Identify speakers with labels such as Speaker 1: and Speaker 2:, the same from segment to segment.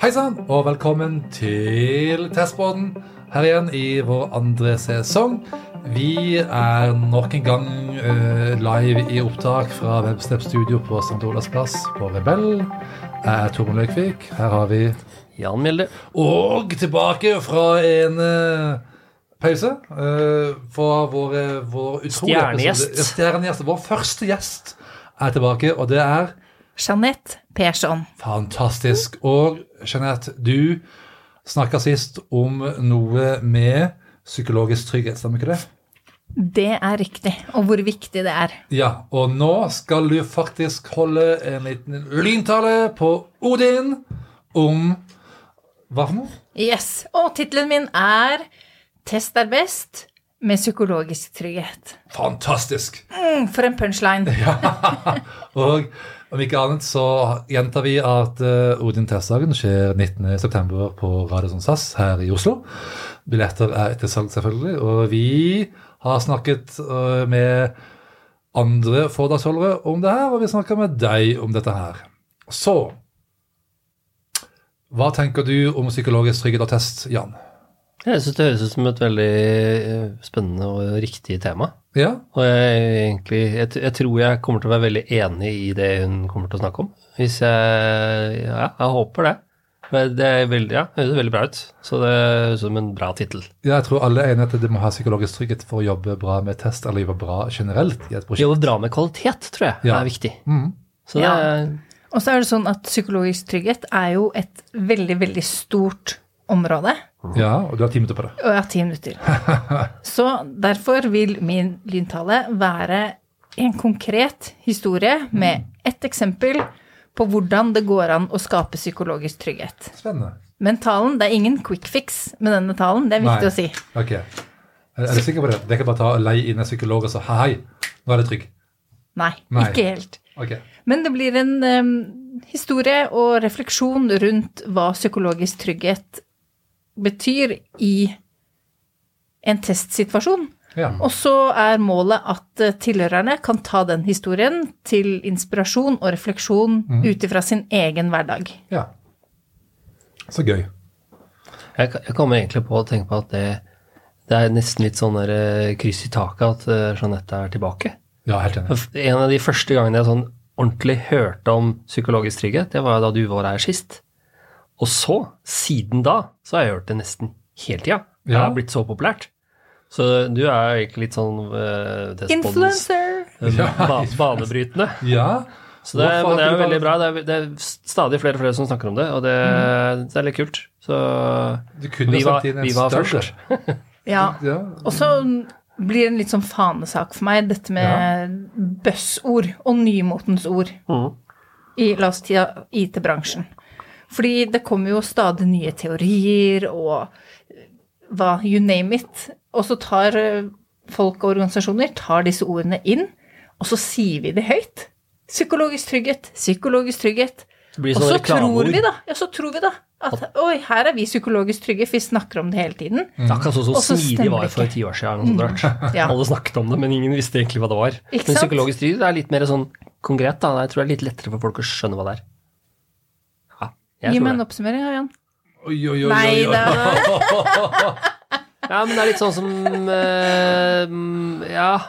Speaker 1: Hei sann, og velkommen til Testbåten. Her igjen i vår andre sesong. Vi er nok en gang eh, live i opptak fra Webstep Studio på St. Olavs plass på Rebell. Jeg er Tormod Løkvik. Her har vi
Speaker 2: Jan Mjelde.
Speaker 1: Og tilbake fra en eh, pause eh, for vår, eh, vår utrolige
Speaker 2: Stjernegjest.
Speaker 1: episode. Stjernegjest. Vår første gjest er tilbake, og det er
Speaker 3: Jeanette Persson.
Speaker 1: Fantastisk. Og Jeanette, du snakka sist om noe med psykologisk trygghet, stemmer ikke det?
Speaker 3: Det er riktig, og hvor viktig det er.
Speaker 1: Ja, og nå skal du faktisk holde en liten lyntale på Odin om hva for noe?
Speaker 3: Yes, Og tittelen min er 'Test er best med psykologisk trygghet'.
Speaker 1: Fantastisk!
Speaker 3: Mm, For en punchline.
Speaker 1: Og om ikke annet så gjentar vi at eh, Odin Testdagen skjer 19.9. på Radisson SAS her i Oslo. Billetter er ettersalg, selvfølgelig. Og vi har snakket eh, med andre foredragsholdere om det her, og vi snakker med deg om dette her. Så Hva tenker du om psykologisk trygghet og test, Jan?
Speaker 2: Jeg syns det høres ut som et veldig eh, spennende og riktig tema.
Speaker 1: Ja?
Speaker 2: Og jeg, er egentlig, jeg, t- jeg tror jeg kommer til å være veldig enig i det hun kommer til å snakke om. Hvis jeg Ja, jeg håper det. Men det er veldig, ja, det høres veldig bra ut. Så det høres ut som en bra tittel.
Speaker 1: Ja, Jeg tror alle er enige i at de må ha psykologisk trygghet for å jobbe bra med test, eller jobbe bra generelt i et prosjekt.
Speaker 2: Jobbe bra med kvalitet, tror jeg,
Speaker 1: Ja.
Speaker 2: er viktig.
Speaker 1: Mhm.
Speaker 2: Så det er
Speaker 3: Og så er det sånn at psykologisk trygghet er jo et veldig, veldig stort område.
Speaker 1: Ja, og du har ti minutter på det.
Speaker 3: Og jeg har ti minutter. Så derfor vil min lyntale være en konkret historie med ett eksempel på hvordan det går an å skape psykologisk trygghet.
Speaker 1: Spennende.
Speaker 3: Men talen, det er ingen quick fix med denne talen, det er viktig
Speaker 1: Nei.
Speaker 3: å si.
Speaker 1: Ok. Er, er du sikker på det? Det kan bare ta og leie inn en psykolog og så hei, hei, nå er det trygg.
Speaker 3: Nei,
Speaker 1: Nei.
Speaker 3: ikke helt.
Speaker 1: Ok.
Speaker 3: Men det blir en em, historie og refleksjon rundt hva psykologisk trygghet betyr i en testsituasjon.
Speaker 1: Ja.
Speaker 3: Og så er målet at eh, tilhørerne kan ta den historien til inspirasjon og refleksjon
Speaker 1: Mhm.
Speaker 3: ut ifra sin egen hverdag.
Speaker 1: ja. Så gøy.
Speaker 2: Jeg, jeg kommer egentlig på å tenke på at det, det er nesten litt sånn der, eh, kryss i taket at eh, Jeanette er tilbake.
Speaker 1: Ja, helt enig.
Speaker 2: En av de første gangene jeg sånn ordentlig hørte om psykologisk trygghet, det var da du var her sist. Og så, siden da, så har jeg hørt det nesten hele tida. Det
Speaker 1: Ja.
Speaker 2: har blitt så populært. Så du er jo egentlig litt sånn eh, det er spons-
Speaker 3: Influencer!
Speaker 2: eh,
Speaker 1: Ja.
Speaker 2: ba banebrytende.
Speaker 1: Ja.
Speaker 2: Så det, er-
Speaker 1: Hvorfor
Speaker 2: men det er
Speaker 1: har
Speaker 2: jo
Speaker 1: ikke du
Speaker 2: veldig bra. Det er, det er stadig flere og flere som snakker om det, og det, det er litt kult. Så
Speaker 1: Du Mm. kunne
Speaker 2: vi
Speaker 1: jo
Speaker 2: var,
Speaker 1: sendt inn en
Speaker 2: vi var
Speaker 1: større.
Speaker 2: først.
Speaker 3: Ja.
Speaker 1: Ja.
Speaker 3: Og så blir det en litt sånn fanesak for meg, dette med bøssord og nymotens ord
Speaker 2: Mhm.
Speaker 3: i la oss si, IT-bransjen. Fordi det kommer jo stadig nye teorier og hva you name it. Og så tar eh, folk og organisasjoner tar disse ordene inn, og så sier vi det høyt. Psykologisk trygghet, psykologisk trygghet.
Speaker 2: Det blir
Speaker 3: Og
Speaker 2: sånn
Speaker 3: så tror vi
Speaker 2: reklameord.
Speaker 3: da, ja, så tror vi da at oi, her er vi psykologisk trygge, for vi snakker om det hele tiden.
Speaker 1: Mm.
Speaker 2: Det er Akkurat sånn som
Speaker 3: Og så
Speaker 2: smidig
Speaker 3: stemmer
Speaker 2: var
Speaker 3: det
Speaker 2: for
Speaker 3: ikke.
Speaker 2: ti år siden. eller noe sånt rart.
Speaker 3: Ja.
Speaker 2: Alle snakket om det, men ingen visste egentlig hva det var.
Speaker 3: Ikke
Speaker 2: men
Speaker 3: sant?
Speaker 2: psykologisk trygghet er litt mer sånn konkret. da. Jeg tror det er litt lettere for folk å skjønne hva det er. Ja, jeg
Speaker 3: Gi
Speaker 2: tror
Speaker 3: meg en
Speaker 2: det.
Speaker 3: oppsummering, Jan.
Speaker 1: Oi, oi, oi,
Speaker 3: Nei,
Speaker 1: oi,
Speaker 3: det
Speaker 1: oi.
Speaker 3: er
Speaker 2: ja, men det er litt sånn som eh, mm, Ja.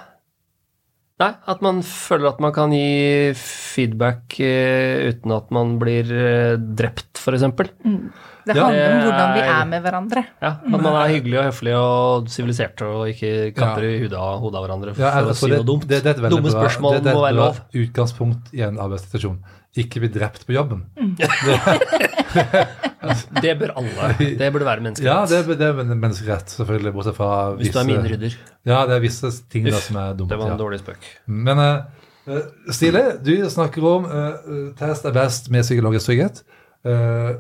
Speaker 2: Nei, at man føler at man kan gi feedback eh, uten at man blir eh, drept, f.eks.
Speaker 3: Mm. Det
Speaker 1: Ja.
Speaker 3: handler om hvordan vi
Speaker 2: Det er-
Speaker 3: er med hverandre.
Speaker 2: Ja, at man er hyggelig og høflig og sivilisert og ikke katter
Speaker 1: Ja.
Speaker 2: i hodet av hodet av hverandre for
Speaker 1: Ja, jeg
Speaker 2: å si
Speaker 1: tror det,
Speaker 2: noe dumt.
Speaker 1: det, det er et veldig
Speaker 2: Dumme
Speaker 1: bra-
Speaker 2: spørsmål
Speaker 1: det, det er et
Speaker 2: må være
Speaker 1: bra
Speaker 2: lov.
Speaker 1: Utgangspunkt i en arbeidssituasjon. Ikke bli drept på jobben.
Speaker 2: Mm. Det bør alle. Det burde være mennesker.
Speaker 1: Ja, det, er- det er en menneskerett, selvfølgelig, bortsett fra
Speaker 2: Hvis du er minerydder.
Speaker 1: Ja, det er visse ting da
Speaker 2: Uff,
Speaker 1: som er dumt.
Speaker 2: Det var en
Speaker 1: ja.
Speaker 2: dårlig spøk.
Speaker 1: Men uh, Stile, du snakker om eh, test er best med psykologisk trygghet. Eh,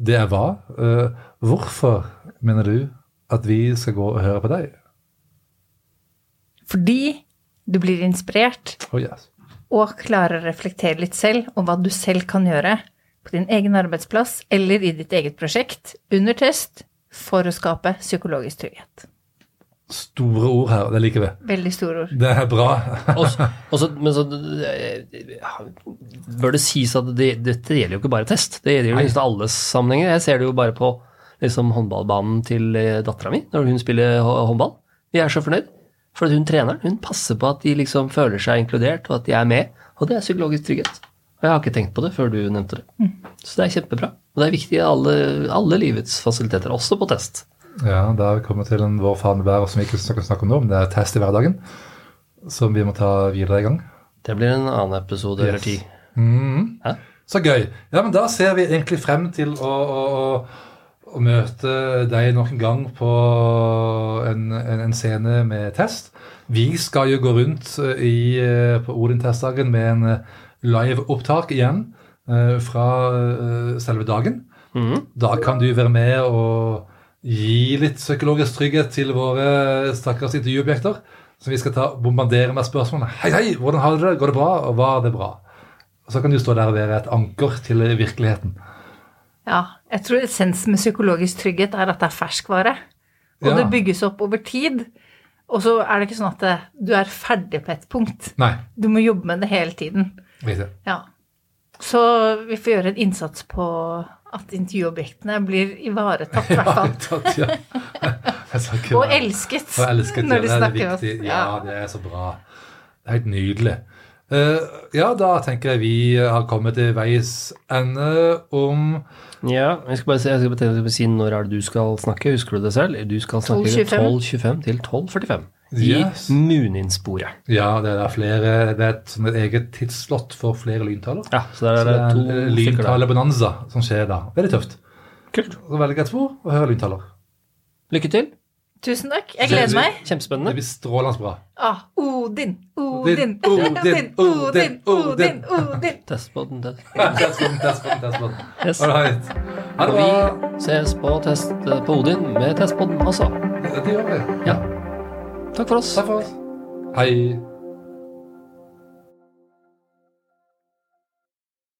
Speaker 1: det er hva? Eh, hvorfor mener du at vi skal gå og høre på deg?
Speaker 3: Fordi du blir inspirert
Speaker 1: Oh, yes.
Speaker 3: og klarer å reflektere litt selv om hva du selv kan gjøre på din egen arbeidsplass eller i ditt eget prosjekt under test for å skape psykologisk trygghet.
Speaker 1: store ord her, det liker vi.
Speaker 3: Veldig store ord.
Speaker 1: Det er bra.
Speaker 2: Og så- og så- men så eh, bør det sies at det, dette gjelder jo ikke bare test. Det gjelder jo i nesten alle sammenhenger. Jeg ser det jo bare på liksom, håndballbanen til dattera mi når hun spiller hå- håndball. Vi er så fornøyd. For at hun treneren hun passer på at de liksom føler seg inkludert, og at de er med. Og det er psykologisk trygghet. Og jeg har ikke tenkt på det før du nevnte det.
Speaker 1: Mm.
Speaker 2: Så det er kjempebra. Og det er viktig i alle, alle livets fasiliteter, også på test.
Speaker 1: Ja, da har vi kommet til en vår faen hver som vi ikke skal snakke om nå, men det er test i hverdagen. Som vi må ta videre i gang.
Speaker 2: Det blir en annen episode eller
Speaker 1: Yes.
Speaker 2: ti.
Speaker 1: Mhm.
Speaker 2: Hæ?
Speaker 1: Så gøy. Ja, men da ser vi egentlig frem til å, å, å, å møte deg nok en gang på en, en, en scene med test. Vi skal jo gå rundt i, eh, på Odin-testdagen med en eh, live-opptak igjen eh, fra eh, selve dagen.
Speaker 2: Mhm.
Speaker 1: Da kan du være med og gi litt psykologisk trygghet til våre stakkars intervjuobjekter. Så vi skal ta, bombardere med spørsmål. Hei, hei, hvordan har du det? Går det bra? Og var det bra? Og så kan du stå der og være et anker til virkeligheten.
Speaker 3: Ja, jeg tror essensen med psykologisk trygghet er at det er ferskvare. Og
Speaker 1: Ja.
Speaker 3: det bygges opp over tid. Og så er det ikke sånn at det, du er ferdig på et punkt.
Speaker 1: Nei,
Speaker 3: Du må jobbe med det hele tiden.
Speaker 1: riktig.
Speaker 3: Ja. Så vi får gjøre en innsats på at intervjuobjektene blir ivaretatt, i hvert
Speaker 1: Ja,
Speaker 3: fall.
Speaker 1: tatt, ja. Jeg sa ikke
Speaker 3: Og
Speaker 1: det.
Speaker 3: elsket,
Speaker 1: Og elsket
Speaker 3: når de
Speaker 1: det er det
Speaker 3: snakker med
Speaker 1: viktige.
Speaker 3: oss.
Speaker 1: Ja, det er så bra. Det er helt nydelig. Eh, ja, da tenker jeg vi har kommet til veis ende om
Speaker 2: Ja, jeg skal bare si, jeg skal bare, jeg skal bare si når er det du skal snakke. Husker du det selv? Du skal snakke 12.25 til 12.45 i
Speaker 1: Yes.
Speaker 2: Muninsporet.
Speaker 1: Ja, det er flere Det er et, sånn et eget tidsslott for flere lyntaler.
Speaker 2: Ja, så der
Speaker 1: Så det
Speaker 2: er det
Speaker 1: er
Speaker 2: to
Speaker 1: en
Speaker 2: stykker der.
Speaker 1: lyntalebonanza som skjer da. Veldig tøft.
Speaker 2: Kult.
Speaker 1: Så velger jeg et ord og hører lyntaler.
Speaker 2: Lykke til.
Speaker 3: Tusen takk. Jeg gleder meg.
Speaker 1: Det
Speaker 2: Kjempespennende.
Speaker 1: blir strålende bra.
Speaker 3: Ah, Odin, Odin,
Speaker 1: Odin, Odin,
Speaker 3: Odin, Odin, Odin,
Speaker 1: Odin.
Speaker 3: Odin.
Speaker 2: Test på den. Test.
Speaker 1: That's one, that's one, that's one.
Speaker 2: Yes.
Speaker 1: sånn. All right. Ha det
Speaker 2: Og
Speaker 1: bra.
Speaker 2: vi ses på test eh, på Odin med testpodden også.
Speaker 1: Det gjør vi.
Speaker 2: Ja. Takk for oss.
Speaker 1: Takk for oss. Hei.